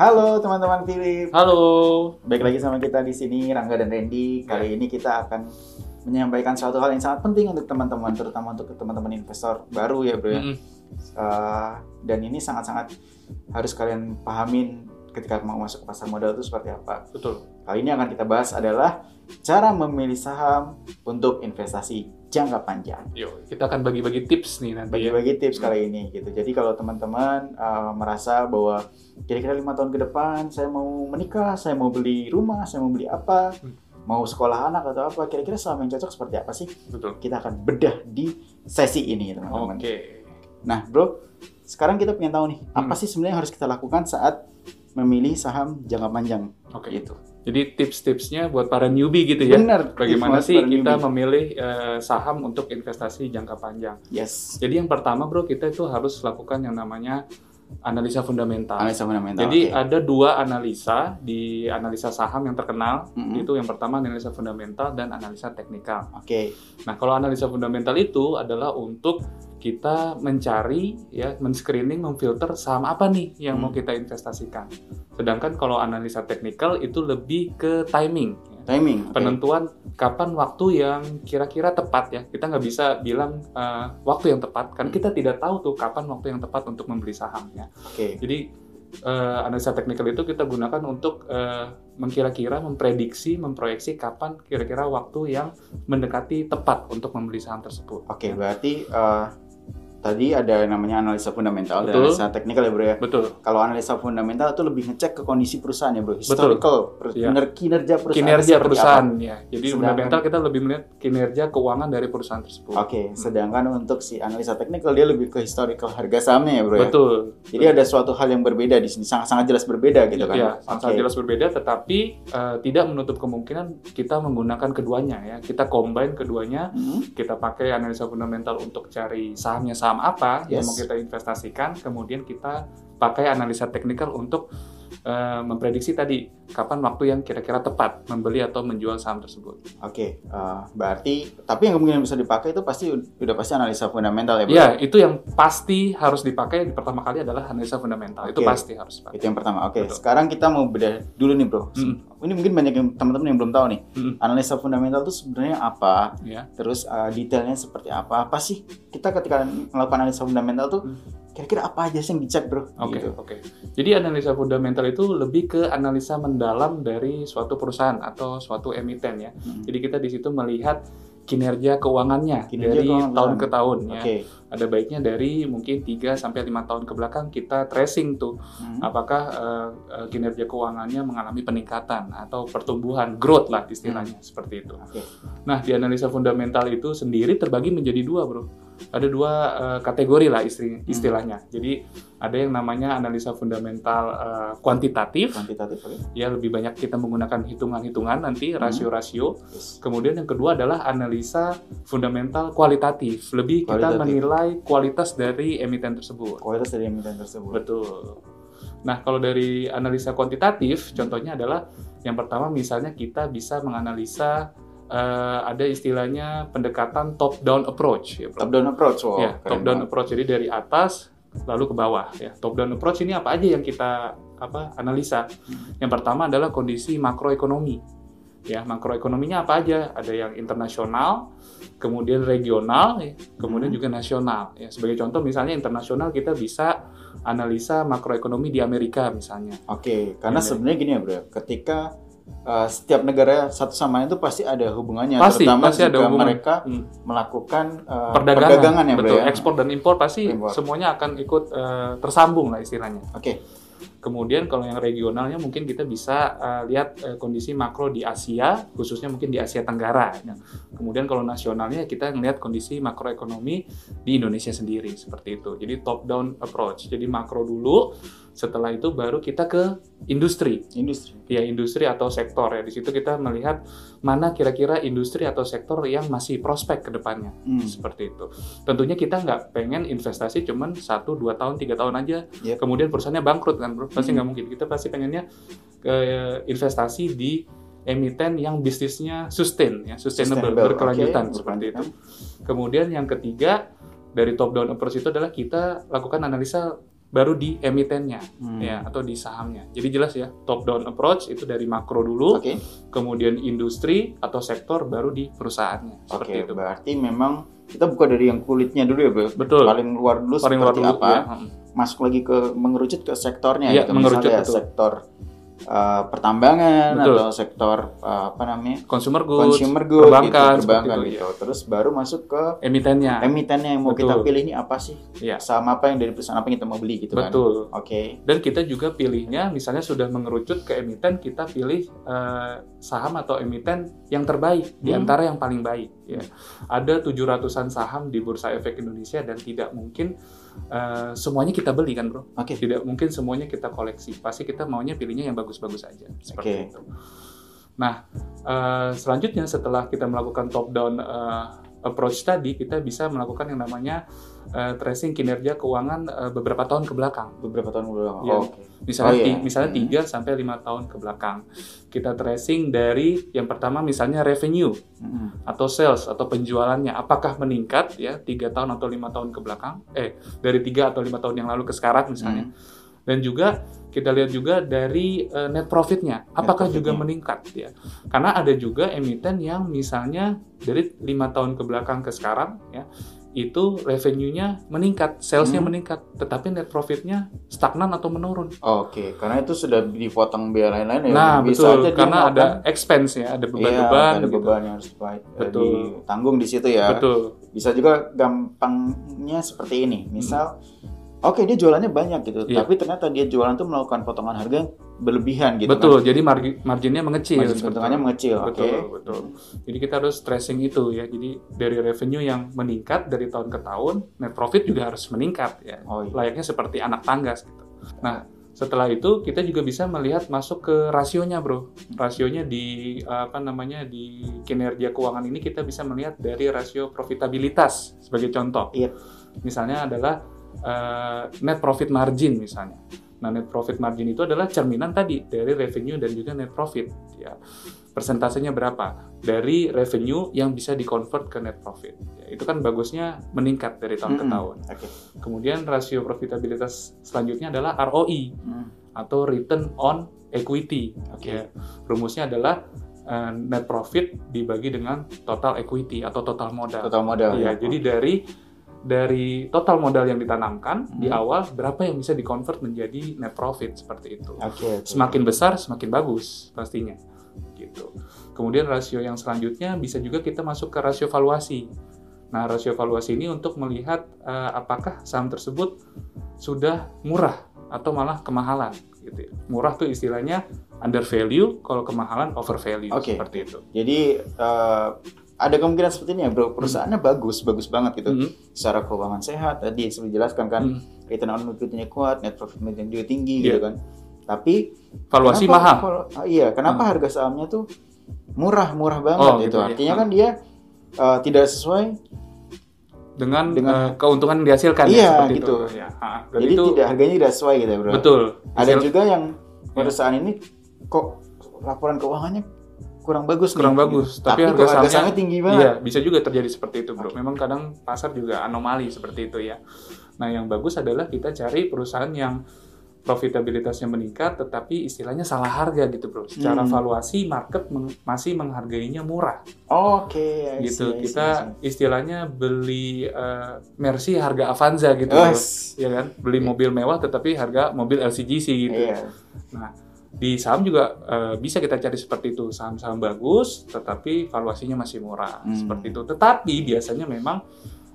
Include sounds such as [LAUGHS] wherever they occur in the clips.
Halo teman-teman Philip, Halo. baik lagi sama kita di sini Rangga dan Randy. Kali ini kita akan menyampaikan suatu hal yang sangat penting untuk teman-teman, terutama untuk teman-teman investor baru ya bro ya. Mm-mm. Eh, dan ini sangat-sangat harus kalian pahamin ketika mau masuk ke pasar modal itu seperti apa. Betul. Kali ini akan kita bahas adalah cara memilih saham untuk investasi jangka panjang. Yuk, kita akan bagi-bagi tips nih nanti ya. bagi-bagi tips kali ini gitu. Jadi kalau teman-teman eh, merasa bahwa kira-kira lima tahun ke depan saya mau menikah, saya mau beli rumah, saya mau beli apa, Hmm. mau sekolah anak atau apa, kira-kira saham yang cocok seperti apa sih? Betul. Kita akan bedah di sesi ini Oke. teman-teman. Nah bro, sekarang kita pengen tahu nih apa Hmm. sih sebenarnya yang harus kita lakukan saat memilih saham jangka panjang Oke. gitu. Jadi tips-tipsnya buat para newbie gitu ya. Benar. Bagaimana Mas, sih para kita newbie. memilih eh, saham untuk investasi jangka panjang? Yes. Jadi yang pertama bro, kita itu harus lakukan yang namanya analisa fundamental. Analisa fundamental. Jadi oke. ada dua analisa di analisa saham yang terkenal. Mm-mm. uh, Itu yang pertama analisa fundamental dan analisa teknikal. Oke. Nah, kalau analisa fundamental itu adalah untuk kita mencari ya, men-screening, memfilter saham apa nih yang mau Hmm. kita investasikan. Sedangkan kalau analisa teknikal itu lebih ke timing. ya. Timing. oke. Penentuan kapan waktu yang kira-kira tepat ya. Kita nggak bisa bilang eh, waktu yang tepat karena kita tidak tahu tuh kapan waktu yang tepat untuk membeli ya. sahamnya. Oke. Jadi eh, analisa teknikal itu kita gunakan untuk eh, mengkira-kira, memprediksi, memproyeksi kapan kira-kira waktu yang mendekati tepat untuk membeli saham tersebut. Oke, berarti eh, tadi ada yang namanya analisa fundamental dan Betul. analisa teknikal ya, Bro ya. Betul. Kalau analisa fundamental itu lebih ngecek ke kondisi perusahaan ya, Bro. Historical, per- Iya. kiner- kinerja perusahaan. kinerja seperti perusahaan apa. ya. Jadi Sedangkan- fundamental kita lebih melihat kinerja keuangan dari perusahaan tersebut. Oke, sedangkan untuk si analisa teknikal dia lebih ke historical harga sahamnya ya, Bro ya. Betul. Jadi ada suatu hal yang berbeda di sini, sangat-sangat jelas berbeda gitu kan. Ya, Oke. sangat jelas berbeda tetapi eh, tidak menutup kemungkinan kita menggunakan keduanya ya. Kita combine keduanya Mhm. kita pakai analisa fundamental untuk cari sahamnya saham apa yang Yes. mau kita investasikan, kemudian kita pakai analisa teknikal untuk eh, memprediksi tadi kapan waktu yang kira-kira tepat membeli atau menjual saham tersebut. Oke, eh, berarti tapi yang kemungkinan bisa dipakai itu pasti udah pasti analisa fundamental ya, Bro. Ya, itu yang pasti harus dipakai di pertama kali adalah analisa fundamental. Itu Oke. pasti harus dipakai. Itu yang pertama. Oke, Betul. sekarang kita mau bedah dulu nih, Bro. Mm, Ini mungkin banyak yang teman-teman yang belum tahu nih. mm, analisa fundamental itu sebenarnya apa ya. terus uh, detailnya seperti apa apa sih kita ketika melakukan analisa fundamental tuh Hmm. kira-kira apa aja sih yang dicek bro Oke, gitu oke. Jadi analisa fundamental itu lebih ke analisa mendalam dari suatu perusahaan atau suatu emiten ya. Hmm. Jadi kita di situ melihat kinerja keuangannya Kinerja dari keuangan. tahun ke tahun Hmm. oke ya. Ada baiknya dari mungkin 3 sampai 5 tahun ke belakang kita tracing tuh Hmm. apakah eh, eh, kinerja keuangannya mengalami peningkatan atau pertumbuhan growth lah Hmm. istilahnya seperti itu. Oke. Nah, di analisa fundamental itu sendiri terbagi menjadi dua, Bro. Ada dua eh, kategori lah Hmm. istri- istilahnya. Jadi ada yang namanya analisa fundamental eh, kuantitatif, kuantitatif oke ya lebih banyak kita menggunakan hitungan-hitungan nanti Hmm. rasio-rasio Yes. Kemudian yang kedua adalah analisa fundamental kualitatif. Lebih kita Kualitatif. menilai kualitas dari emiten tersebut. kualitas dari emiten tersebut Betul. Nah, kalau dari analisa kuantitatif, contohnya adalah yang pertama misalnya kita bisa menganalisa eh, ada istilahnya pendekatan top down approach ya, Bro. top down approach wow Ya, top gitu. down approach jadi dari atas lalu ke bawah ya. Top down approach ini apa aja yang kita apa analisa? Hmm. Yang pertama adalah kondisi makroekonomi. Ya, makroekonominya apa aja? Ada yang internasional, kemudian regional, ya, kemudian Hmm. juga nasional. Ya, sebagai contoh misalnya internasional kita bisa analisa makroekonomi di Amerika misalnya. oke karena Ya, ya. sebenarnya gini ya bro ketika uh, setiap negara satu sama lain itu pasti ada hubungannya Pasti, terutama pasti ada jika hubungan. mereka Hmm. melakukan uh, Perdagangan, ya bro betul. ya Ekspor dan impor pasti Impor. semuanya akan ikut eh, tersambung lah istilahnya. oke Kemudian kalau yang regionalnya mungkin kita bisa eh, lihat eh, kondisi makro di Asia, khususnya mungkin di Asia Tenggara. ya. Kemudian kalau nasionalnya kita melihat kondisi makroekonomi di Indonesia sendiri seperti itu. Jadi top down approach. Jadi makro dulu, setelah itu baru kita ke industri. industri Ya industri atau sektor ya. Di situ kita melihat mana kira-kira industri atau sektor yang masih prospek ke depannya Hmm, seperti itu. Tentunya kita nggak pengen investasi cuman 1, 2 tahun, tiga tahun aja. Yep. Kemudian perusahaannya bangkrut kan bro. Pasti Hmm. nggak mungkin. Kita pasti pengennya eh, investasi di emiten yang bisnisnya sustain, ya, sustainable, sustainable, berkelanjutan oke, seperti itu. berkelanjutan. Kemudian yang ketiga dari top down approach itu adalah kita lakukan analisa baru di emitennya Hmm. ya atau di sahamnya. Jadi jelas ya, top down approach itu dari makro dulu, Oke, kemudian industri atau sektor baru di perusahaannya. Seperti oke. itu. Berarti memang kita buka dari yang kulitnya dulu ya, Bro. Betul. Paling luar dulu Paling luar seperti dulu, apa? ya. Heeh. Masuk lagi ke mengerucut ke sektornya Iya, gitu. mengerucut, Misalnya betul. sektor eh, pertambangan Betul. atau sektor eh, apa namanya? Consumer goods, consumer goods, perbankan, gitu, perbankan seperti itu, gitu. Terus baru masuk ke emitennya. emitennya yang mau kita Betul. pilih ini apa sih? Iya. Saham apa yang dari perusahaan apa yang kita mau beli gitu kan? Betul. Oke. Dan kita juga pilihnya, misalnya sudah mengerucut ke emiten, kita pilih eh, saham atau emiten yang terbaik di Hmm. antara yang paling baik. Ya. Ada 700-an saham di Bursa Efek Indonesia dan tidak mungkin eh, semuanya kita beli kan bro? Oke. Tidak mungkin semuanya kita koleksi. Pasti kita maunya pilihnya yang bagus-bagus aja. Seperti Oke. itu. Nah, eh, selanjutnya setelah kita melakukan top down eh, approach tadi, kita bisa melakukan yang namanya eh, tracing kinerja keuangan eh, beberapa tahun ke belakang Beberapa tahun dulu. Iya. Oke. misalnya Oh, iya. ti- misalnya Hmm. tiga sampai lima tahun ke belakang kita tracing dari yang pertama misalnya revenue Mm-mm. atau sales atau penjualannya apakah meningkat ya tiga tahun atau lima tahun ke belakang eh dari tiga atau lima tahun yang lalu ke sekarang misalnya Mm. dan juga kita lihat juga dari eh, net profitnya apakah juga profitnya. meningkat ya karena ada juga emiten yang misalnya dari lima tahun ke belakang ke sekarang ya itu revenue-nya meningkat, sales-nya Hmm. meningkat, tetapi net profit-nya stagnan atau menurun. Mm-hmm. Oke, karena itu sudah dipotong biaya lain-lain ya. Nah, Bisa betul. aja dia Karena ada melakukan- expense ya, ada Iya, beban-beban ada gitu. beban yang harus dibayar- eh, Betul. ditanggung di situ ya. Betul. Bisa juga gampangnya seperti ini. Misal Oke, dia jualannya banyak gitu, Hmm. Iya. tapi ternyata dia jualan tuh melakukan potongan harga yang berlebihan gitu. betul. Jadi margi- marginnya mengecil. Margin sebetulnya. keuntungannya mengecil, oke. Betul, betul. Jadi kita harus tracing itu ya. Jadi dari revenue yang meningkat dari tahun ke tahun, net profit juga harus meningkat ya. Oh iya. Layaknya seperti anak tangga gitu. Nah, setelah itu kita juga bisa melihat masuk ke rasionya, Bro. Rasionya di apa namanya di kinerja keuangan ini kita bisa melihat dari rasio profitabilitas sebagai contoh. Iya. Misalnya adalah eh, net profit margin misalnya. Nah, net profit margin itu adalah cerminan tadi dari revenue dan juga net profit ya. Persentasenya berapa dari revenue yang bisa di-convert ke net profit. Ya, itu kan bagusnya meningkat dari tahun ke Mm-mm. tahun. Hmm. Oke. Kemudian rasio profitabilitas selanjutnya adalah ROI Mm. atau return on equity. Oke. Ya, Rumusnya adalah eh, net profit dibagi dengan total equity atau total modal. Total modal. Iya, jadi dari dari total modal yang ditanamkan Hmm. di awal berapa yang bisa dikonvert menjadi net profit seperti itu. Oke. oke. Semakin besar semakin bagus pastinya. Gitu. Kemudian rasio yang selanjutnya bisa juga kita masuk ke rasio valuasi. Nah, rasio valuasi ini untuk melihat eh, apakah saham tersebut sudah murah atau malah kemahalan gitu. ya. Murah tuh istilahnya under value, kalau kemahalan over value Oke. seperti itu. Jadi eh, ada kemungkinan seperti ini ya, bro. Perusahaannya bagus, bagus banget gitu. Mhm. Secara keuangan sehat, tadi sudah dijelaskan kan, Mhm. return on equity-nya kuat, net profit margin juga tinggi Iya. gitu kan. Tapi Valuasi kenapa mahal. Hmm. kalau- ah, iya, kenapa harga sahamnya tuh murah-murah banget Oh, gitu. gitu ya. Artinya kan dia eh, tidak sesuai. dengan, Dengan- eh, keuntungan yang dihasilkan ya, Iya, seperti gitu. itu. Ya, ha, dan Jadi itu tidak harganya tidak sesuai gitu ya, bro. betul. Ada Hasil Iya. juga yang perusahaan ini kok laporan keuangannya kurang bagus nih, kurang gitu. bagus, tapi, Tapi, kok harga sahamnya tinggi banget. iya, bisa juga terjadi seperti itu, Bro. Memang kadang pasar juga anomali seperti itu ya. Nah, yang bagus adalah kita cari perusahaan yang profitabilitasnya meningkat tetapi istilahnya salah harga gitu, Bro. Secara Hmm. valuasi market meng- masih menghargainya murah Oke, I see, I gitu. see, kita I istilahnya beli eh, Mercy harga Avanza see. gitu, Oh, Bro. Iya kan? Beli mobil mewah tetapi harga mobil LCGC gitu. Iya. di saham juga eh, bisa kita cari seperti itu saham-saham bagus tetapi valuasinya masih murah Hmm. seperti itu tetapi biasanya memang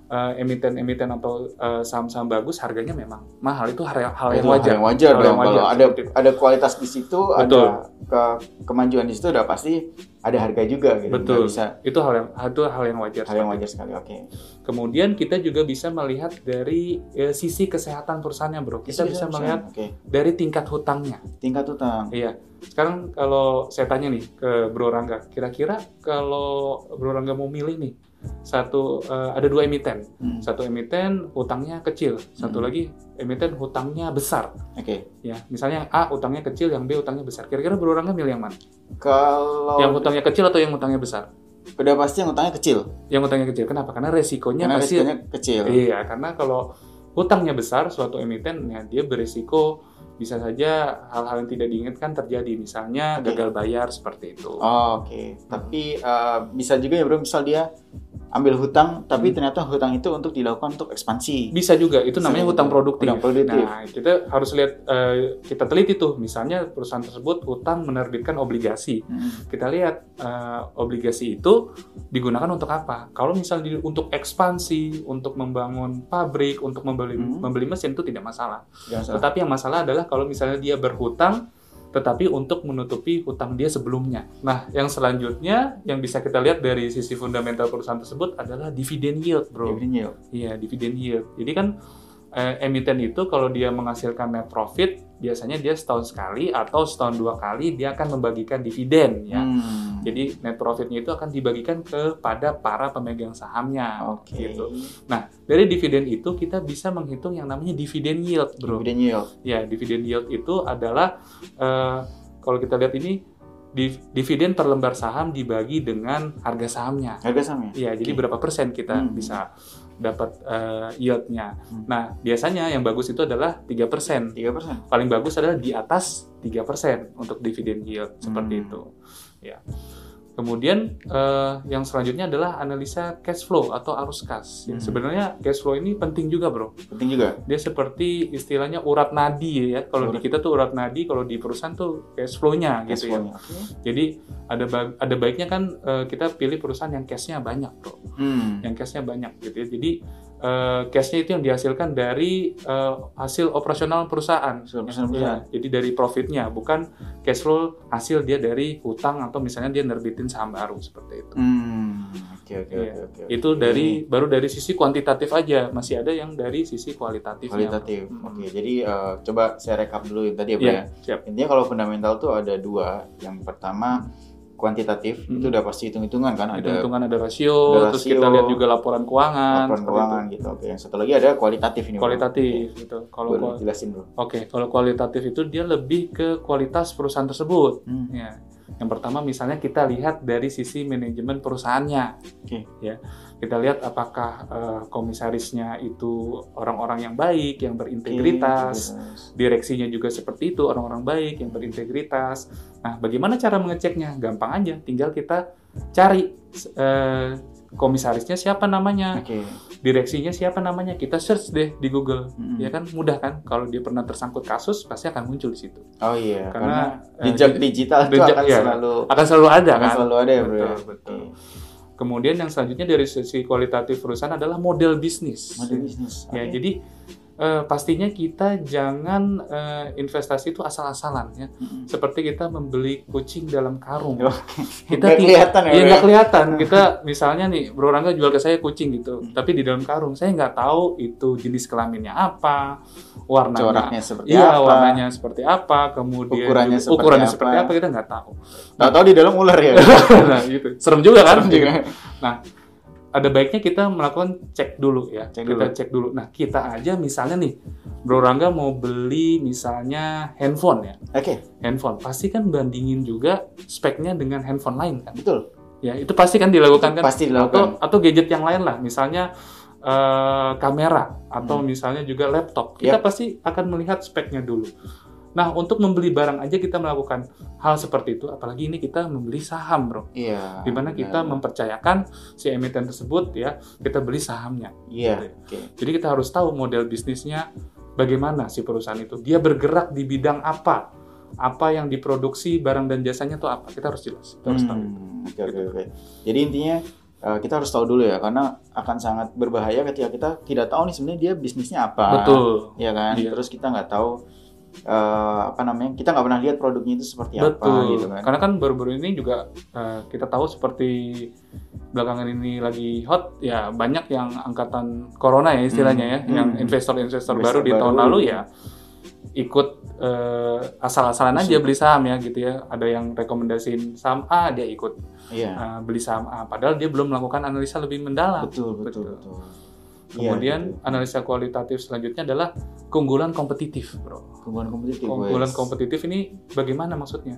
eh, emiten-emiten atau eh, saham-saham bagus harganya memang mahal itu hal, hal yang Itu hal wajar yang wajar Hal dong. yang wajar, Kalau ada seperti itu. ada kualitas di situ, Betul. ada ke kemajuan di situ, udah pasti ada harga juga gitu. Nggak betul Bisa itu hal yang itu hal yang wajar hal yang seperti wajar sekali. Oke. itu. kemudian kita juga bisa melihat dari eh, sisi kesehatan perusahaannya bro kita bisa melihat Oke. dari tingkat hutangnya Tingkat utang. Iya. Sekarang kalau saya tanya nih ke Bro Rangga, kira-kira kalau Bro Rangga mau milih nih satu eh, ada dua emiten, Hmm, Oke. satu emiten hutangnya kecil, satu Hmm. lagi emiten hutangnya besar. Ya, misalnya yang A hutangnya kecil, yang B hutangnya besar. Kira-kira Bro Rangga milih yang mana? Kalau Yang hutangnya kecil atau yang hutangnya besar? udah pasti yang utangnya kecil, Yang hutangnya kecil. Kenapa? Karena resikonya karena pasti resikonya kecil. Iya, karena kalau hutangnya besar suatu emiten ya dia berisiko bisa saja hal-hal yang tidak diinginkan terjadi misalnya Oke. gagal bayar seperti itu. Oh, Oke, tapi eh, bisa juga ya bro, misal dia ambil hutang, tapi Hmm. ternyata hutang itu untuk dilakukan untuk ekspansi. Bisa juga itu Bisa namanya juga. hutang produktif. Hutang produktif. Nah, kita harus lihat eh, kita teliti tuh misalnya perusahaan tersebut hutang menerbitkan obligasi. Hmm. kita lihat eh, obligasi itu digunakan untuk apa. Kalau misalnya di- untuk ekspansi, untuk membangun pabrik, untuk membeli Hmm. membeli mesin itu tidak masalah. Jangan salah. Tetapi yang masalah adalah kalau misalnya dia berhutang tetapi untuk menutupi hutang dia sebelumnya. Nah, yang selanjutnya yang bisa kita lihat dari sisi fundamental perusahaan tersebut adalah dividend yield, Bro. Dividend yield. Iya, dividend yield. Jadi kan eh, emiten itu kalau dia menghasilkan net profit, biasanya dia setahun sekali atau setahun dua kali dia akan membagikan dividen ya. Hmm. Jadi net profitnya itu akan dibagikan kepada para pemegang sahamnya. Oke. gitu. Dari dividen itu kita bisa menghitung yang namanya dividen yield, bro. Dividend yield. Ya, dividen yield itu adalah eh, kalau kita lihat ini div- dividen per lembar saham dibagi dengan harga sahamnya. Harga sama ya? Ya, jadi Oke. berapa persen kita Hmm. bisa dapat eh, yieldnya. Hmm. Nah, biasanya yang bagus itu adalah 3%. 3%. paling bagus adalah di atas 3% untuk dividen yield seperti Hmm. itu ya kemudian eh, yang selanjutnya adalah analisa cash flow atau arus kas Ya, Hmm. sebenarnya cash flow ini penting juga bro Penting juga. dia seperti istilahnya urat nadi ya kalau di Urat. kita tuh urat nadi kalau di perusahaan tuh cash flow-nya Cash gitu ya flow-nya. Oke. jadi ada ba- ada baiknya kan eh, kita pilih perusahaan yang cashnya banyak bro Hmm. yang cashnya banyak gitu ya jadi eh, cashnya itu yang dihasilkan dari eh, hasil operasional perusahaan Hasil operasional Ya, perusahaan. jadi dari profitnya bukan cash flow hasil dia dari hutang atau misalnya dia nerbitin saham baru seperti itu Hmm. Oke, oke, Iya. oke, oke. itu oke. dari baru dari sisi kuantitatif aja masih ada yang dari sisi kualitatif kualitatif. Oke, jadi eh, coba saya rekap dulu yang tadi ya, Bro, Iya, ya. siap. Intinya kalau fundamental tuh ada dua. Yang pertama kuantitatif Hmm. itu udah pasti hitung-hitungan kan ada hitungan ada rasio ada terus rasio, kita lihat juga laporan keuangan laporan seperti itu. keuangan gitu. Oke, yang satu lagi ada kualitatif ini. Bro. kualitatif gitu Oke, kalau Boleh kual- jelasin bro. oke kalau kualitatif itu dia lebih ke kualitas perusahaan tersebut Hmm. Ya. Yang pertama misalnya kita lihat dari sisi manajemen perusahaannya. Oke. Ya. Kita lihat apakah eh, komisarisnya itu orang-orang yang baik, yang berintegritas. Oke, iya. Direksinya juga seperti itu, orang-orang baik, yang berintegritas. Nah, bagaimana cara mengeceknya? Gampang aja, tinggal kita cari eh, komisarisnya siapa namanya, Oke. direksinya siapa namanya. Kita search deh di Google. Mm-mm. Ya kan mudah kan? Kalau dia pernah tersangkut kasus pasti akan muncul di situ. Oh iya, karena, Karena, eh, jejak digital itu jejak, akan iya. selalu akan selalu ada akan kan? selalu ada ya bro. ya? Betul, betul. Kemudian yang selanjutnya dari sisi kualitatif perusahaan adalah model bisnis. Oke. Model bisnis. Ya, Oke. jadi eh, pastinya kita jangan eh, investasi itu asal-asalan ya. Mm-mm. Seperti kita membeli kucing dalam karung. Oke. Kita Nggak ti- kelihatan ya. Ya Bro, nggak ya? [LAUGHS] kelihatan. Kita misalnya nih, Bro Rangga jual ke saya kucing gitu, Hmm. tapi di dalam karung saya nggak tahu itu jenis kelaminnya apa, warnanya. Coraknya seperti Iya, apa? warnanya seperti apa, kemudian Ukurannya juga- seperti ukurannya apa. seperti apa kita nggak [LAUGHS] tahu. Tahu-tahu di dalam ular [LAUGHS] ya. nah, gitu. Serem juga kan? Serem juga. ada baiknya kita melakukan cek dulu ya. Cek kita dulu. cek dulu. Nah, kita aja misalnya nih, Bro Rangga mau beli misalnya handphone ya. Oke, Handphone pasti kan bandingin juga speknya dengan handphone lain kan. betul. Ya, itu pasti kan dilakukan kan. Pasti dilakukan. Atau atau gadget yang lain lah, misalnya eh, kamera atau Hmm. misalnya juga laptop. Kita pasti akan melihat speknya dulu. Nah, untuk membeli barang aja kita melakukan hal seperti itu, apalagi ini kita membeli saham, Bro Iya. di mana kita benar. mempercayakan si emiten tersebut ya kita beli sahamnya. Iya. Oke. Jadi kita harus tahu model bisnisnya bagaimana si perusahaan itu dia bergerak di bidang apa, apa yang diproduksi barang dan jasanya itu apa kita harus jelas, kita harus tahu. Hmm, Oke oke oke. Jadi intinya eh, kita harus tahu dulu ya karena akan sangat berbahaya ketika kita tidak tahu nih sebenarnya dia bisnisnya apa. Betul, Iya kan. Iya. Terus kita nggak tahu eh, apa namanya kita nggak pernah lihat produknya itu seperti betul. apa gitu kan. Karena kan baru-baru ini juga eh, kita tahu seperti belakangan ini lagi hot ya banyak yang angkatan corona ya istilahnya Hmm, ya, yang hmm. investor-investor Investor baru di tahun baru. lalu ya ikut eh, asal-asalan aja Masuk. beli saham ya gitu ya. Ada yang rekomendasiin saham A dia ikut Iya. eh, beli saham A padahal dia belum melakukan analisa lebih mendalam. Betul betul Ah, Betul. betul. Iya, Kemudian betul. analisa kualitatif selanjutnya adalah keunggulan kompetitif, Bro. keunggulan kompetitif. Keunggulan Iya, guys. kompetitif ini bagaimana maksudnya?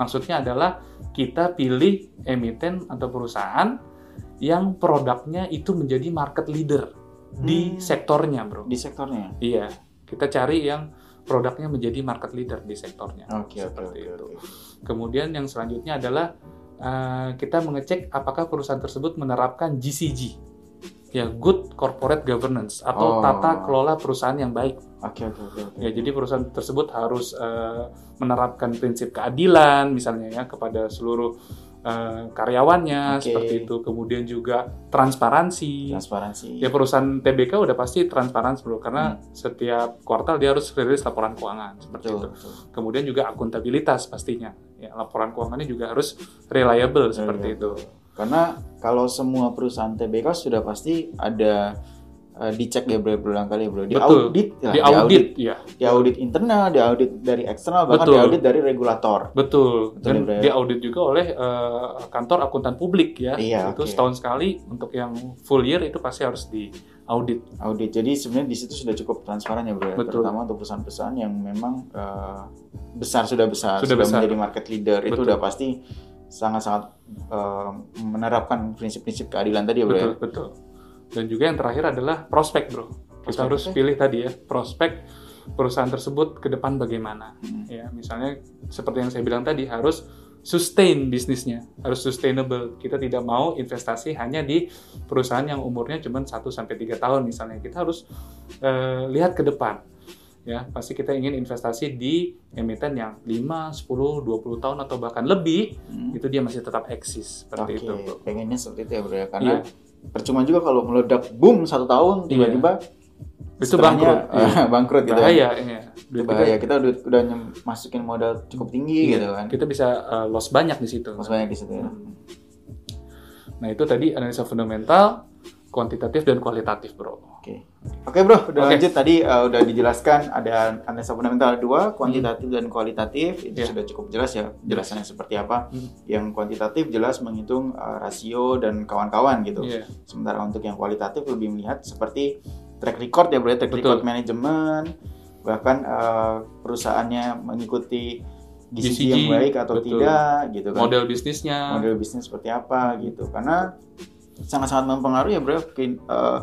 Maksudnya adalah kita pilih emiten atau perusahaan yang produknya itu menjadi market leader. Hmm. di sektornya, bro. di sektornya ya? Iya, kita cari yang produknya menjadi market leader di sektornya. Oke, oke, Seperti oke, itu. oke. Kemudian yang selanjutnya adalah eh, kita mengecek apakah perusahaan tersebut menerapkan GCG, ya Good Corporate Governance Oh. atau tata kelola perusahaan yang baik. Oke, oke, oke, oke. Ya, jadi perusahaan tersebut harus eh, menerapkan prinsip keadilan misalnya ya kepada seluruh eh, Oke. karyawannya seperti itu. Kemudian juga transparansi. Transparansi. Ya perusahaan TBK udah pasti transparan bro karena setiap kuartal dia harus rilis laporan keuangan seperti itu. Betul, betul. Kemudian juga akuntabilitas pastinya. Ya, laporan keuangannya juga harus reliable Hmm. seperti itu. Iya, Karena kalau semua perusahaan TBK sudah pasti ada eh, dicek ya bro, berulang kali bro. Di Betul. audit, ya, Di audit, ya. di audit internal, di audit dari eksternal, bahkan Betul. di audit dari regulator. Betul. Betul, Dan Bro, ya. di audit juga oleh eh, kantor akuntan publik ya. Iya, itu oke. setahun sekali untuk yang full year itu pasti harus di audit. Audit. Jadi sebenarnya di situ sudah cukup transparan ya bro. ya. Betul. Terutama untuk perusahaan-perusahaan yang memang eh, besar sudah besar, Sudah besar. menjadi market leader itu Betul. udah pasti sangat-sangat eh, menerapkan prinsip-prinsip keadilan tadi ya bro. Betul, ya. betul. Dan juga yang terakhir adalah prospek, Bro. Kita Prospek harus apa ya? pilih tadi ya, prospek perusahaan tersebut ke depan bagaimana. Hmm. Ya, misalnya seperti yang saya bilang tadi harus sustain bisnisnya, harus sustainable. Kita tidak mau investasi hanya di perusahaan yang umurnya cuma 1 sampai 3 tahun misalnya. Kita harus eh, lihat ke depan. Ya, pasti kita ingin investasi di emiten yang 5, 10, 20 tahun atau bahkan lebih, Hmm. itu dia masih tetap eksis Oke, seperti itu, Bro. pengennya seperti itu ya bro ya. Karena percuma juga kalau meledak boom satu tahun Iya. tiba-tiba Itu setelahnya, [LAUGHS] bangkrut. Iya. eh, bangkrut gitu kan. bahaya iya. Itu Duit kita- bahaya kita udah, udah nyem- masukin modal cukup tinggi gitu kan Iya. kita bisa uh, loss banyak di situ mas banyak di situ ya. nah itu tadi analisa fundamental kuantitatif dan kualitatif bro Oke. Oke bro, udah Oke. lanjut tadi uh, udah dijelaskan ada analisa fundamental dua, kuantitatif dan kualitatif itu Hmm. Iya. sudah cukup jelas ya jelasannya seperti apa. Hmm. Yang kuantitatif jelas menghitung uh, rasio dan kawan-kawan gitu. Iya, Sementara untuk yang kualitatif lebih melihat seperti track record ya bro, ya, track Betul. record manajemen bahkan uh, perusahaannya mengikuti GCG, GCG, yang baik atau betul. tidak gitu kan model bisnisnya model bisnis seperti apa gitu karena sangat-sangat mempengaruhi ya bro Ke- eh,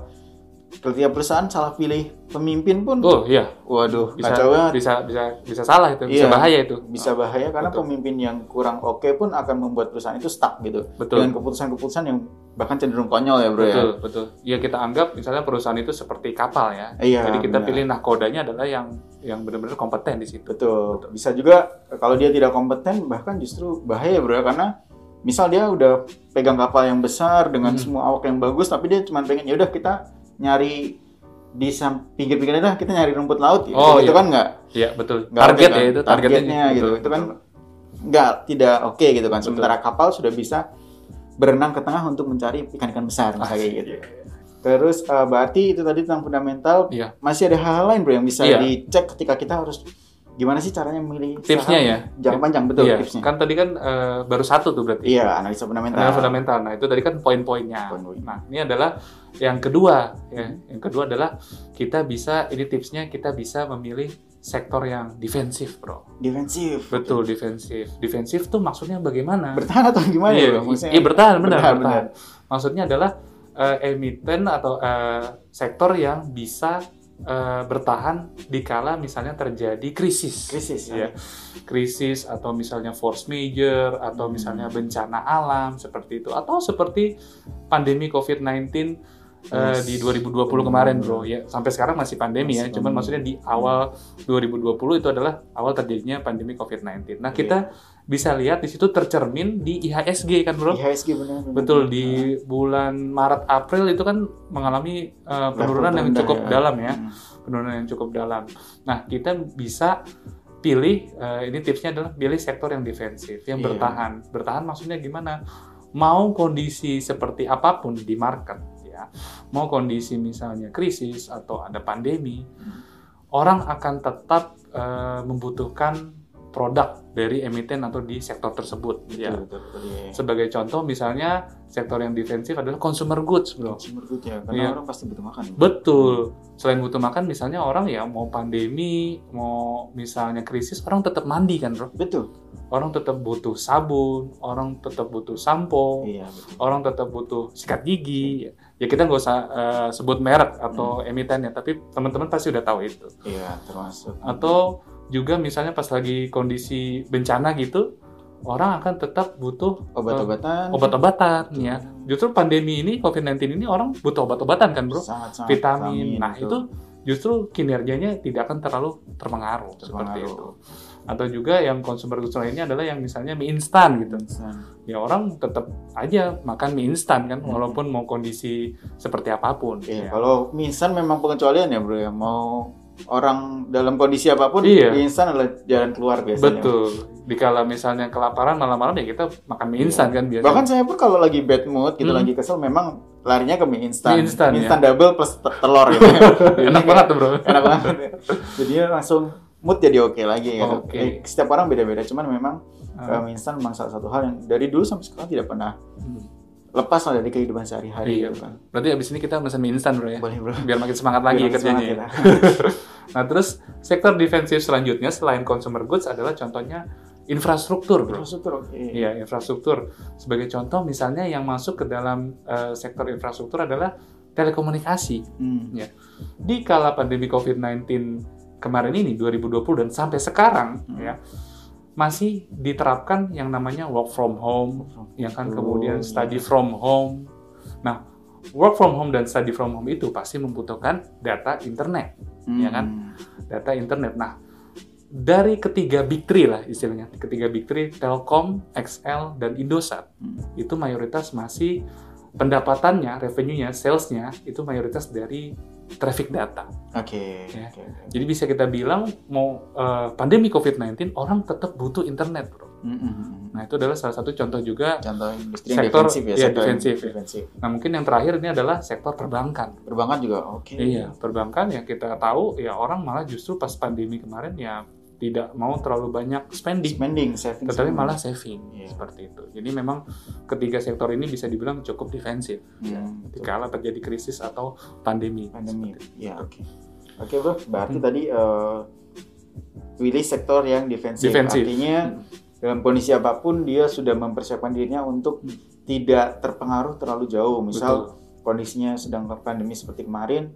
setiap perusahaan salah pilih pemimpin pun oh iya waduh bisa kacau banget bisa bisa bisa salah itu bisa Iya. bahaya itu Ah, bisa bahaya karena Betul. pemimpin yang kurang oke pun akan membuat perusahaan itu stuck gitu betul dengan keputusan-keputusan yang bahkan cenderung konyol ya bro betul betul ya kita anggap misalnya perusahaan itu seperti kapal ya ya iya jadi kita benar. pilih nahkodanya adalah yang yang benar-benar kompeten di situ Betul. Bisa juga eh, kalau dia tidak kompeten bahkan justru bahaya bro ya, karena misal dia udah pegang kapal yang besar dengan Hmm. semua awak yang bagus tapi dia cuma pengen ya udah kita nyari di sam- pinggir-pinggirnya dah kita nyari rumput laut ya. Oh, itu iya. kan nggak Iya betul nggak target oke, kan? ya itu targetnya, targetnya gitu. Itu kan nggak tidak oke gitu kan. Sementara kapal sudah bisa berenang ke tengah untuk mencari ikan-ikan besar misalnya kayak Ah, gitu. Terus eh, berarti itu tadi tentang fundamental. Iya. Masih ada hal-hal lain bro yang bisa Iya. dicek ketika kita harus gimana sih caranya memilih tipsnya saham? ya Jangka panjang betul Iya, tipsnya. kan tadi kan eh, baru satu tuh berarti Iya, analisa fundamental. Adalah fundamental. Nah, itu tadi kan poin-poinnya. Poin-poin. Nah, ini adalah yang kedua. Ya. Yang kedua adalah kita bisa, ini tipsnya kita bisa memilih sektor yang defensif, bro. Defensif. Betul, defensif. Defensif tuh maksudnya bagaimana? Bertahan atau gimana ya, iya, bro? Maksudnya- iya, bertahan, benar, Bertahan, bertahan. Maksudnya adalah eh, emiten atau eh, sektor yang bisa eh, bertahan dikala misalnya terjadi krisis. krisis. Iya. krisis atau misalnya force major atau Hmm. misalnya bencana alam seperti itu atau seperti pandemi COVID-19 eh, Yes. di 2020 kemarin bro ya sampai sekarang masih pandemi Masih ya pandemi. cuman maksudnya di awal 2020 itu adalah awal terjadinya pandemi COVID-19 ya. nah kita Iya. bisa lihat di situ tercermin di IHSG kan bro IHSG benar. benar. Betul Hmm. di Iya. bulan Maret April itu kan mengalami eh, penurunan yang terendah cukup ya. dalam ya Hmm. penurunan yang cukup dalam. Nah, kita bisa pilih eh, ini tipsnya adalah pilih sektor yang defensif, yang Iya. bertahan. Bertahan maksudnya gimana? Mau kondisi seperti apapun di market ya. Mau kondisi misalnya krisis atau ada pandemi, Hmm. orang akan tetap eh, membutuhkan produk dari emiten atau di sektor tersebut Betul, ya. betul, betul, iya. Sebagai contoh misalnya sektor yang defensif adalah consumer goods, Bro. Consumer good ya, karena Iya. orang pasti butuh makan. Betul. Selain butuh makan, misalnya orang ya mau pandemi, mau misalnya krisis, orang tetap mandi kan, bro. Betul. orang tetap butuh sabun, orang tetap butuh sampo, Iya, betul. orang tetap butuh sikat gigi. Ya kita nggak usah eh, sebut merek atau emiten ya, tapi teman-teman pasti udah tahu itu. Iya, termasuk. Atau juga misalnya pas lagi kondisi bencana gitu, orang akan tetap butuh eh, obat-obatan. obat-obatan ya. Justru pandemi ini COVID-19 ini orang butuh obat-obatan kan, Bro? Sangat-sangat vitamin. Ah, Nah, betul. itu justru kinerjanya tidak akan terlalu terpengaruh, seperti Terpengaruh. itu. Atau juga yang konsumer goods lainnya adalah yang misalnya mie instan gitu. San- Ya orang tetap aja makan mie instan kan Hmm. walaupun mau kondisi seperti apapun. Iya, ya. kalau minsan memang pengecualian ya, Bro ya. Mau orang dalam kondisi apapun Iya. di insan adalah jalan keluar biasanya. Betul. Dikala misalnya kelaparan malam-malam ya kita makan mie Iya. instan kan biasanya. Bahkan saya pun kalau lagi bad mood, gitu Hmm. lagi kesel, memang larinya ke mie instan. Mie instan, ya. double plus te- telur gitu. [LAUGHS] [LAUGHS] enak banget tuh, Bro. Enak banget. Jadinya langsung mood jadi oke lagi gitu. Oke. Eh, Setiap orang beda-beda, cuman memang eh, Ah. mie instan memang salah satu hal yang dari dulu sampai sekarang tidak pernah lepas lah dari kehidupan sehari-hari Iya. gitu kan. Berarti abis ini kita pesan mie instan, Bro ya. Boleh bro. Biar makin semangat lagi Biar kerjanya. semangat ya. kita. [LAUGHS] Nah, terus sektor defensif selanjutnya selain consumer goods adalah contohnya infrastruktur, Bro. Infrastruktur oke. Iya, infrastruktur. Sebagai contoh misalnya yang masuk ke dalam eh, sektor infrastruktur adalah telekomunikasi. Ya. Hmm. Di kala pandemi COVID-19 kemarin ini 2020 dan sampai sekarang Hmm. ya masih diterapkan yang namanya work from home, yang kan Oh, iya. kemudian study from home. Nah, work from home dan study from home itu pasti membutuhkan data internet Iya kan? Hmm. data internet. Nah, dari ketiga big three lah istilahnya, ketiga big three Telkom, XL, dan Indosat Hmm. itu mayoritas masih pendapatannya, revenue-nya, sales-nya itu mayoritas dari traffic data. Oke. Ya. oke, oke. Jadi bisa kita bilang mau eh, pandemi COVID-19 orang tetap butuh internet, Bro. Hmm, hmm, hmm. Nah, itu adalah salah satu contoh juga. Contoh industri yang Sektor- defensif ya, iya, sektor yang defensif ya. defensif. Nah, mungkin yang terakhir ini adalah sektor perbankan. Perbankan juga oke. Iya, perbankan ya kita tahu ya orang malah justru pas pandemi kemarin ya tidak mau terlalu banyak spending. Spending, saving. tetapi saving. malah saving Iya. seperti itu. Jadi memang ketiga sektor ini bisa dibilang cukup defensif Hmm, ya, betul. dikala terjadi krisis atau pandemi. pandemi. Seperti itu. Hmm. Ya oke. Oke bro, berarti tadi eh, pilih sektor yang defensif. Defensif. Artinya dalam kondisi apapun dia sudah mempersiapkan dirinya untuk tidak terpengaruh terlalu jauh. Misal Betul. kondisinya sedang pandemi seperti kemarin,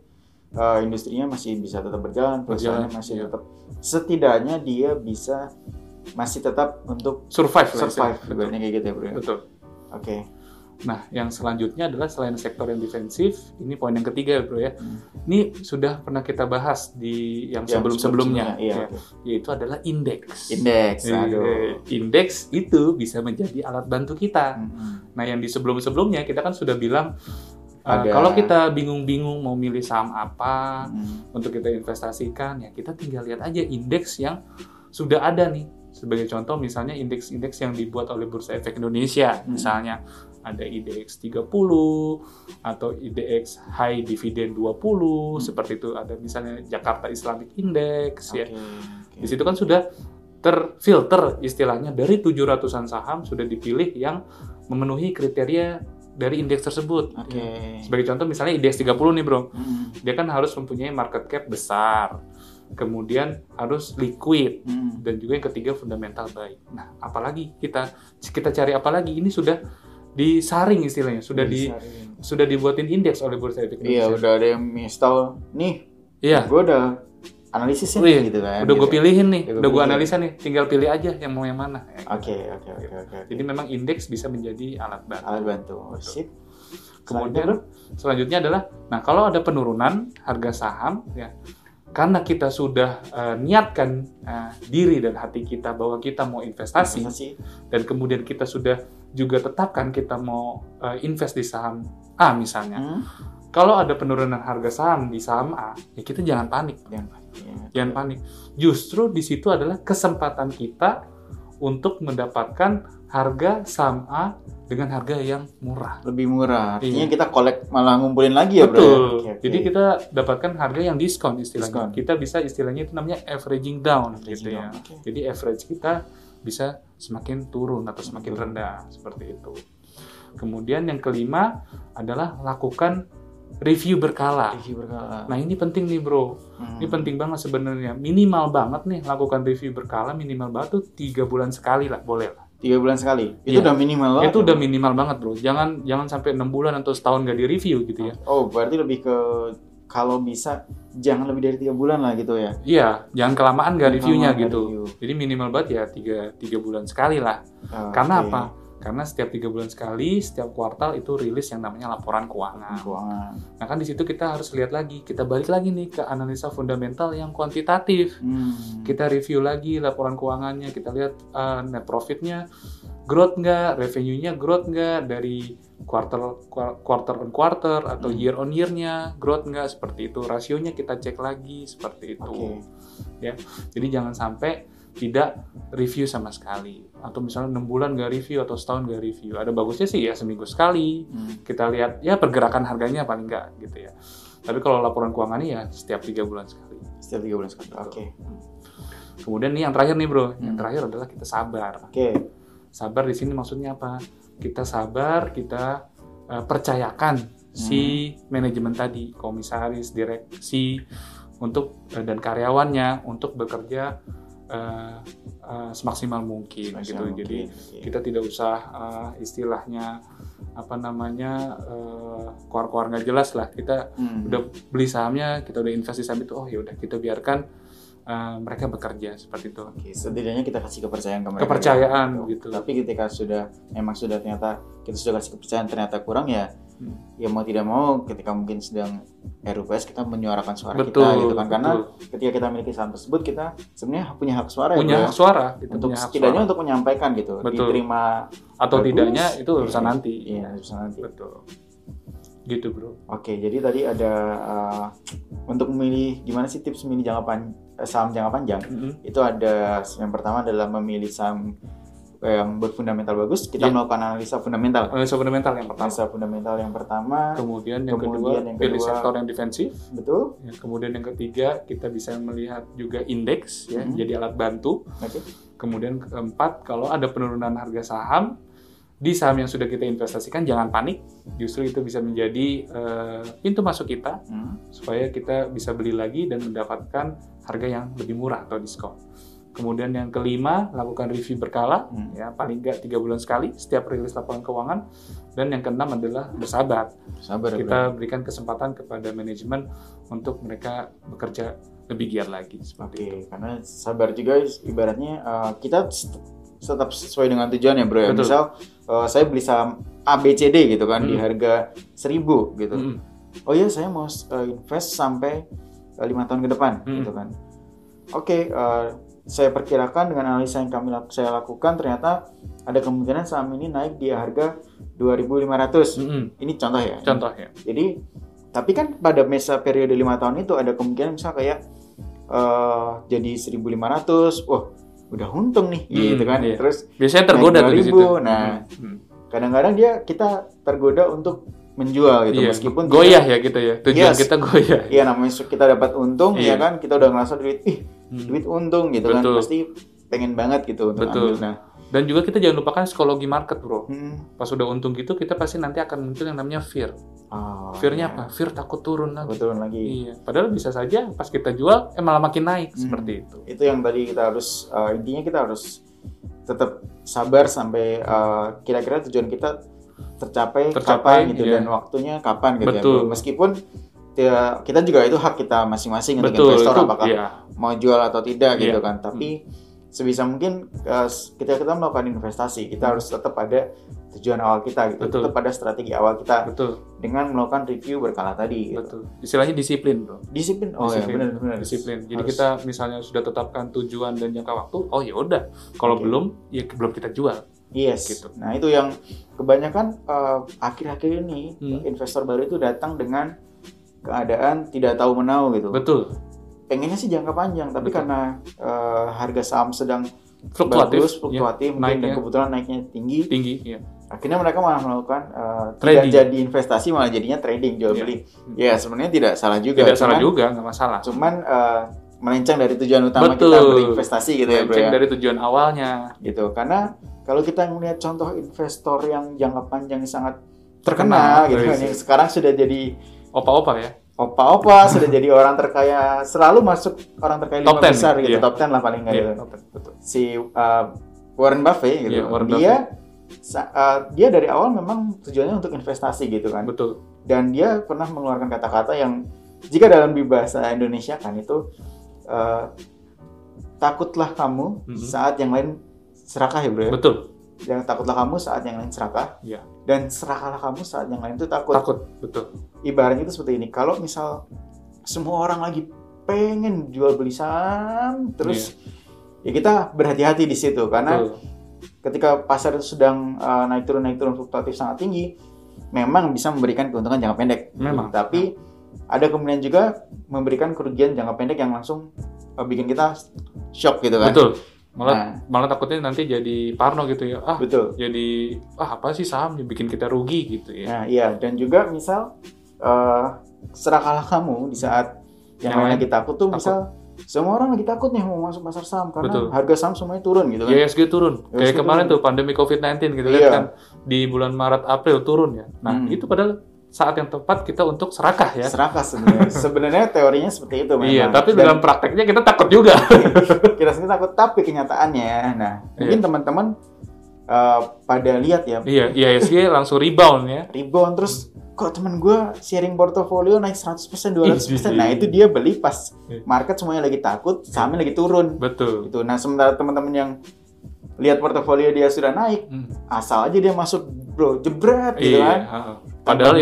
eh, industrinya masih bisa tetap berjalan, perusahaannya Berjalan, masih iya. tetap setidaknya dia bisa masih tetap untuk survive, lah survive, istilahnya. ibaratnya kayak gitu ya bro. Betul. Oke, Betul. Nah, yang selanjutnya adalah selain sektor yang defensif, ini poin yang ketiga, bro ya. Hmm. Ini sudah pernah kita bahas di yang Yang sebelum-sebelumnya, iya. ya, oke. yaitu adalah indeks. Indeks, aduh. Eh, Indeks itu bisa menjadi alat bantu kita. Mm-mm. Nah, yang di sebelum-sebelumnya kita kan sudah bilang eh, Ada. kalau kita bingung-bingung mau milih saham apa Mm. untuk kita investasikan, ya kita tinggal lihat aja indeks yang sudah ada nih. Sebagai contoh misalnya indeks-indeks yang dibuat oleh Bursa Efek Indonesia, Hmm. misalnya ada IDX 30 atau IDX High Dividend 20 Hmm. seperti itu ada misalnya Jakarta Islamic Index ya. Oke, oke. Di situ kan sudah terfilter istilahnya dari 700-an saham sudah dipilih yang memenuhi kriteria dari indeks tersebut. Oke. Sebagai contoh misalnya indeks 30 nih, Bro. Mm. Dia kan harus mempunyai market cap besar. Kemudian harus liquid Mm. dan juga yang ketiga fundamental baik. Nah, apalagi kita kita cari apalagi ini sudah disaring istilahnya, sudah di Disaring. sudah dibuatin indeks oleh Bursa Efek Iya, Indonesia. udah ada yang install. Nih, Iya, gue udah analisisnya Wih, gitu kan. Oh iya, udah gue gitu. pilihin nih, Udah gua udah gue pilihin. analisa nih, tinggal pilih aja yang mau yang mana. Ya, gitu. Oke, oke, oke, oke. oke. Jadi memang indeks bisa menjadi alat bantu. alat bantu. Sip. Selanjutnya, Kemudian selanjutnya adalah, nah kalau ada penurunan harga saham, ya karena kita sudah eh, niatkan eh, diri dan hati kita bahwa kita mau investasi Investasi. dan kemudian kita sudah juga tetapkan kita mau eh, invest di saham A misalnya. Hmm? Kalau ada penurunan harga saham di saham A, ya kita jangan panik. Jangan panik. ya. Jangan panik. Justru di situ adalah kesempatan kita untuk mendapatkan harga saham A dengan harga yang murah. Lebih murah. Artinya Iya. kita collect malah ngumpulin lagi ya, Bro. Betul. Oke, oke. Jadi kita dapatkan harga yang diskon Diskon. istilahnya. Kita bisa istilahnya itu namanya averaging down Averaging gitu ya. down, oke. Jadi average kita bisa semakin turun atau semakin rendah seperti itu. Kemudian yang kelima adalah lakukan review berkala. Review berkala. Nah ini penting nih bro, Hmm. ini penting banget sebenarnya. Minimal banget nih lakukan review berkala minimal banget tuh tiga bulan sekali lah boleh lah. Tiga bulan sekali. Itu Iya. udah minimal banget. Itu udah minimal banget bro. Jangan jangan sampai enam bulan atau setahun gak direview gitu ya. Oh, berarti lebih ke kalau bisa jangan lebih dari tiga bulan lah gitu ya. Iya, jangan kelamaan gak reviewnya Nggak gitu. review. Jadi minimal banget ya tiga tiga bulan sekali lah. Ah, Karena oke. apa? Karena setiap tiga bulan sekali, setiap kuartal itu rilis yang namanya laporan keuangan. Keuangan. Nah kan di situ kita harus lihat lagi, kita balik lagi nih ke analisa fundamental yang kuantitatif. Hmm. Kita review lagi laporan keuangannya, kita lihat eh, net profitnya, growth nggak, revenue-nya growth nggak dari quarter kuar- quarter on quarter atau Hmm. year on year-nya growth nggak seperti itu. Rasionya kita cek lagi seperti itu. Oke. ya. Jadi jangan sampai tidak review sama sekali. Atau misalnya enam bulan nggak review atau setahun nggak review. Ada bagusnya sih ya seminggu sekali. Hmm. Kita lihat ya pergerakan harganya paling nggak gitu ya. Tapi kalau laporan keuangannya ya setiap tiga bulan sekali. Setiap tiga bulan sekali. Oke. Kemudian nih yang terakhir nih bro, yang Hmm. terakhir adalah kita sabar. Oke. Sabar di sini maksudnya apa? Kita sabar, kita eh, percayakan si Hmm. manajemen tadi, komisaris, direksi, untuk eh, dan karyawannya untuk bekerja eh, eh, semaksimal mungkin gitu. Maksimal Jadi mungkin. Oke. kita tidak usah eh, istilahnya apa namanya eh, keluar-keluar nggak jelas lah. Kita Hmm. udah beli sahamnya, kita udah invest di saham itu, oh ya udah kita biarkan eh, mereka bekerja seperti itu. Oke, setidaknya kita kasih kepercayaan ke mereka. ya. Kepercayaan, gitu. Tapi ketika sudah memang sudah ternyata kita sudah kasih kepercayaan ternyata kurang ya Hmm. ya mau tidak mau ketika mungkin sedang RUPS kita menyuarakan suara betul, kita gitu kan karena betul. ketika kita memiliki saham tersebut kita sebenarnya punya hak suara punya ya Bro, hak suara, gitu, untuk punya hak setidaknya suara. untuk menyampaikan gitu Betul. diterima atau bagus, tidaknya itu urusan iya, nanti. iya bisa nanti Betul. Gitu bro. oke jadi tadi ada eh, untuk memilih gimana sih tips memilih jangka pan- eh, saham jangka panjang Mm-mm. itu ada yang pertama adalah memilih saham yang berfundamental bagus kita Iya. melakukan analisa fundamental Analisa fundamental Eh, yang pertama. analisa fundamental yang pertama Kemudian yang Kemudian kedua, yang pilih kedua- sektor yang defensif. betul Ya, kemudian yang ketiga, kita bisa melihat juga indeks ya, Mhm. jadi alat bantu. oke Kemudian keempat, kalau ada penurunan harga saham di saham yang sudah kita investasikan, jangan panik. Justru itu bisa menjadi eh, pintu masuk kita Hmm. supaya kita bisa beli lagi dan mendapatkan harga yang lebih murah atau diskon. Kemudian yang kelima, lakukan review berkala. Hmm. ya paling nggak tiga bulan sekali setiap rilis laporan keuangan dan yang keenam adalah bersabar sabar Bro. kita berikan kesempatan kepada manajemen untuk mereka bekerja lebih giat lagi Oke, seperti itu karena sabar juga is- ibaratnya uh, kita s- tetap sesuai dengan tujuan ya bro ya. Betul. Misal uh, saya beli saham ABCD gitu kan di Mm. harga 1000 gitu. Mm-mm. Oh iya saya mau uh, invest sampai uh, lima tahun ke depan Mm. gitu kan. Oke, uh, saya perkirakan dengan analisa yang kami lak- saya lakukan ternyata ada kemungkinan saham ini naik di harga 2500. Mm-mm. Ini contoh ya. contohnya Jadi tapi kan pada masa periode lima tahun itu ada kemungkinan misal kayak eh, jadi 1.500, wah udah untung nih Hmm, gitu kan. iya. Terus biasanya tergoda Naik tuh di 2000, situ nah. Mm-mm. kadang-kadang dia kita tergoda untuk menjual gitu Iya, meskipun kita- goyah ya gitu ya tujuan Yes. kita goyah Iya namanya su- kita dapat untung ya Iya. kan kita udah ngerasa duit ih Mm. duit untung gitu kan Betul. pasti pengen banget gitu untuk Betul. ambil. Nah, dan juga kita jangan lupakan psikologi market bro hmm. pas udah untung gitu kita pasti nanti akan muncul yang namanya fear Oh, fearnya iya. apa fear takut turun lagi Kebetulan lagi. iya padahal bisa saja pas kita jual eh malah makin naik Mm. seperti itu itu yang tadi kita harus uh, intinya kita harus tetap sabar sampai uh, kira-kira tujuan kita tercapai, Tercapai, kapan gitu iya. dan waktunya kapan gitu ya, Betul. Bro. meskipun ya, kita juga itu hak kita masing-masing untuk betul investor itu apakah iya. mau jual atau tidak gitu Iya. kan tapi sebisa mungkin uh, ketika kita melakukan investasi kita harus tetap pada tujuan awal kita gitu Betul. tetap pada strategi awal kita betul dengan melakukan review berkala tadi gitu. Betul. Istilahnya disiplin, Bro. disiplin oh ya Disiplin. benar-benar Disiplin. Jadi Harus. kita misalnya sudah tetapkan tujuan dan jangka waktu, oh ya udah. Kalau Oke. belum, ya ke- belum kita jual. Yes. Gitu. Nah itu yang kebanyakan eh, akhir-akhir ini Hmm. investor baru itu datang dengan keadaan tidak tahu menau gitu. Betul. Pengennya sih jangka panjang, tapi Betul. karena eh, harga saham sedang Fluktuatif, bagus, fluktuatif, ya, mungkin dan naiknya. kebetulan naiknya tinggi, tinggi, ya. akhirnya mereka malah melakukan eh, Trading. tidak jadi investasi malah jadinya trading jual Iya. beli. Ya sebenarnya tidak salah juga. Tidak salah cuman- juga, nggak masalah. Cuman eh, melenceng dari tujuan utama kita Betul. berinvestasi gitu ya bro Cek ya. dari tujuan awalnya. gitu karena kalau kita melihat contoh investor yang jangka panjang sangat Terkenal, terkenal gitu kan, Chris. yang sekarang sudah jadi Opa-opa ya. [LAUGHS] Opa-opa sudah jadi orang terkaya, selalu masuk orang terkaya Top lima 10, besar gitu, iya. top 10 lah paling nggak gitu. Iya, betul. si uh, Warren Buffett gitu. Iya, Warren dia sa- uh, dia dari awal memang tujuannya untuk investasi gitu kan. Betul. Dan dia pernah mengeluarkan kata-kata yang jika dalam di bahasa Indonesia kan itu uh, takutlah kamu Mhm. saat yang lain serakah ya bro. ya? Betul. Yang takutlah kamu saat yang lain serakah. Iya. Dan serakahlah kamu saat yang lain itu takut. Takut. Betul. Ibaratnya itu seperti ini. Kalau misal semua orang lagi pengen jual beli saham terus ya kita berhati-hati di situ karena Iya. Betul. ketika pasar sedang uh, naik turun naik turun fluktuatif sangat tinggi memang bisa memberikan keuntungan jangka pendek Memang. tapi ada kemungkinan juga memberikan kerugian jangka pendek yang langsung uh, bikin kita shock gitu kan Betul. Malah Nah. malah takutnya nanti jadi parno gitu ya. Ah, betul jadi ah apa sih saham yang bikin kita rugi gitu ya. nah iya dan juga misal uh, serakahlah kamu di saat yang, Yang lain lain lagi takut tuh takut. misal semua orang lagi takut nih mau masuk pasar saham karena Betul. Iya, harga saham semuanya turun gitu kan IHSG turun. Kayak IHSG kemarin turun. tuh pandemi COVID-19 gitu Iya. lihat kan di bulan Maret April turun ya. Nah, Hmm. itu padahal saat yang tepat kita untuk serakah ya. serakah sebenarnya sebenarnya teorinya seperti itu memang Iya, tapi Dan- dalam prakteknya kita takut juga. [LAUGHS] kita sendiri takut tapi kenyataannya nah mungkin teman-teman eh, pada lihat ya iya, IHSG langsung rebound ya. rebound terus kok teman gua sharing portofolio naik 100% 200% nah Ih, ih, ih. itu dia beli pas Iya. market semuanya lagi takut sahamnya lagi turun Betul. gitu nah sementara teman-teman yang lihat portofolio dia sudah naik Hmm. asal aja dia masuk bro jebret gitu Iya. kan ha. Padahal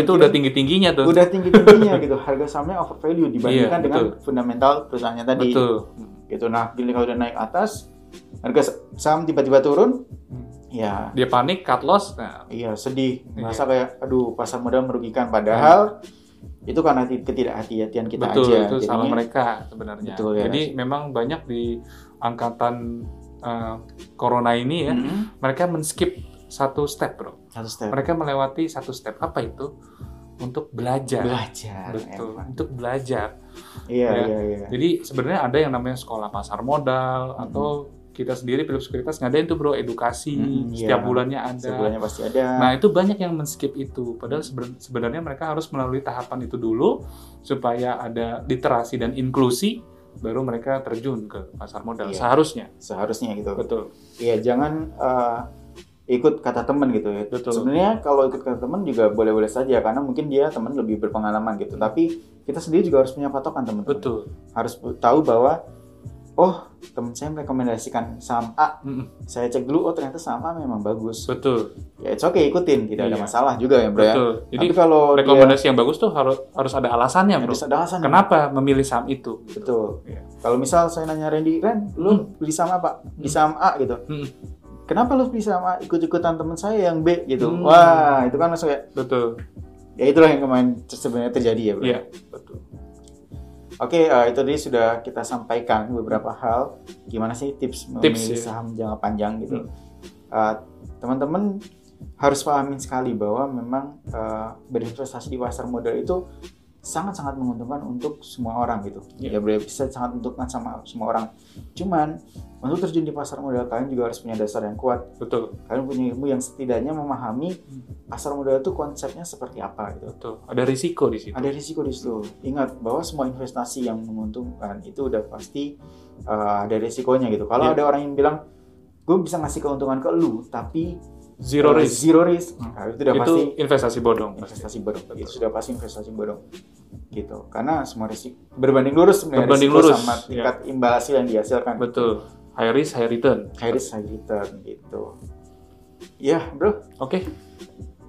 Tambah itu mikir. udah tinggi-tingginya tuh. udah tinggi tingginya gitu harga sahamnya overvalue dibandingkan Iya, dengan fundamental perusahaannya tadi Betul. gitu nah bila kalau udah naik atas harga saham tiba-tiba turun Hmm. ya Dia panik, cut loss. Nah, Iya sedih, Iya. merasa kayak aduh pasar modal merugikan. Padahal itu karena ti- ketidakhati-hatian kita Iya. betul, aja. itu salah Jadinya, mereka sebenarnya. Betul, ya. Jadi memang banyak di angkatan eh, corona ini ya, Mm-mm. mereka men-skip satu step, Bro. Satu step Mereka melewati satu step. Apa itu? Untuk belajar. belajar. ya. Betul, emang. untuk belajar. Iya Ya. iya iya. Jadi sebenarnya ada yang namanya sekolah pasar modal Mhm. atau kita sendiri Philips Sekuritas ngadain tuh bro edukasi Mhm, iya. setiap bulannya ada. Sebulannya pasti ada. Nah itu banyak yang men-skip itu. Padahal seben- sebenarnya mereka harus melalui tahapan itu dulu supaya ada literasi dan inklusi baru mereka terjun ke pasar modal Iya. seharusnya. Seharusnya gitu. Betul. Iya jangan eh, ikut kata teman gitu ya. Betul. Sebenarnya kalau ikut kata teman juga boleh-boleh saja karena mungkin dia teman lebih berpengalaman gitu. Tapi kita sendiri juga harus punya patokan teman-teman. Betul. Harus tahu bahwa oh teman saya merekomendasikan saham A, Mm-mm. saya cek dulu oh ternyata saham A memang bagus. Betul. ya it's okay ikutin tidak ada Iya. masalah juga ya bro ya Betul. Jadi tapi kalau dia rekomendasi yang bagus tuh harus harus ada alasannya bro. harus ada alasan Kenapa memilih saham itu? betul Iya. Hmm. kalau misal saya nanya Randy Ren lu beli saham apa beli saham A gitu Mm-mm. kenapa lu beli saham A ikut-ikutan teman saya yang B gitu Hmm. wah itu kan langsung ya Betul. ya itulah yang kemarin sebenarnya terjadi ya bro Iya. Betul. oke eh, itu tadi sudah kita sampaikan beberapa hal gimana sih tips memilih ya. saham jangka panjang gitu Eh, teman-teman harus pahamin sekali bahwa memang eh, berinvestasi di pasar modal itu sangat-sangat menguntungkan untuk semua orang gitu. Ya Iya. boleh bisa sangat menguntungkan sama semua orang. Cuman untuk terjun di pasar modal kalian juga harus punya dasar yang kuat. Betul. Kalian punya ilmu yang setidaknya memahami pasar modal itu konsepnya seperti apa gitu. Betul. Ada risiko di situ. Ada risiko di situ. Ingat bahwa semua investasi yang menguntungkan itu udah pasti eh, ada risikonya gitu. Kalau Iya. ada orang yang bilang gue bisa ngasih keuntungan ke lu tapi Zero Eh, risk. Zero risk. Hmm. Nah, itu udah itu Iya. pasti investasi bodong. pasti. investasi bodong. Itu sudah pasti investasi bodong. Gitu. Karena semua risiko berbanding lurus sebenarnya Berbanding risiko lurus, Iya. sama tingkat imbal hasil yang dihasilkan. Betul. High risk, high return. High risk high return gitu. Ya, Bro. Oke.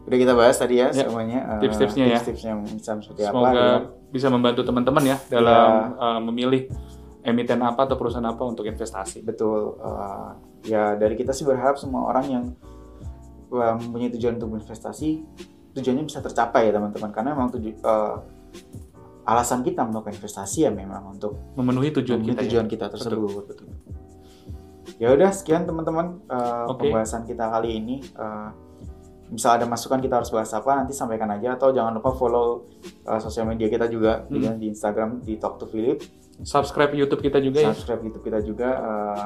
Udah kita bahas tadi ya, Ya. semuanya eh, Tips-tipsnya ya. Tips-tipsnya macam seperti apa. Semoga gitu. bisa membantu teman-teman ya dalam uh, memilih emiten apa atau perusahaan apa untuk investasi. betul eh, ya dari kita sih berharap semua orang yang eh, mempunyai tujuan untuk berinvestasi tujuannya bisa tercapai ya teman-teman karena memang tuju- eh, alasan kita melakukan investasi ya memang untuk Memenuhi tujuan memenuhi kita. ya. tujuan kita tersebut ya udah sekian teman-teman eh, Oke. pembahasan kita kali ini Eh, misal ada masukan kita harus bahas apa nanti sampaikan aja atau jangan lupa follow eh, sosial media kita juga Hmm. dengan di Instagram di Talk to Philip ya. Subscribe YouTube kita juga ya. subscribe YouTube kita juga. eh,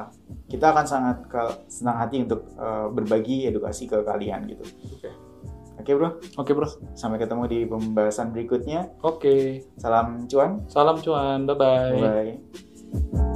kita akan sangat ke- senang hati untuk eh, berbagi edukasi ke kalian gitu. Oke. Oke, Oke bro, Oke bro. Oke. sampai ketemu di pembahasan berikutnya. Salam cuan. Salam cuan. Bye-bye. Bye.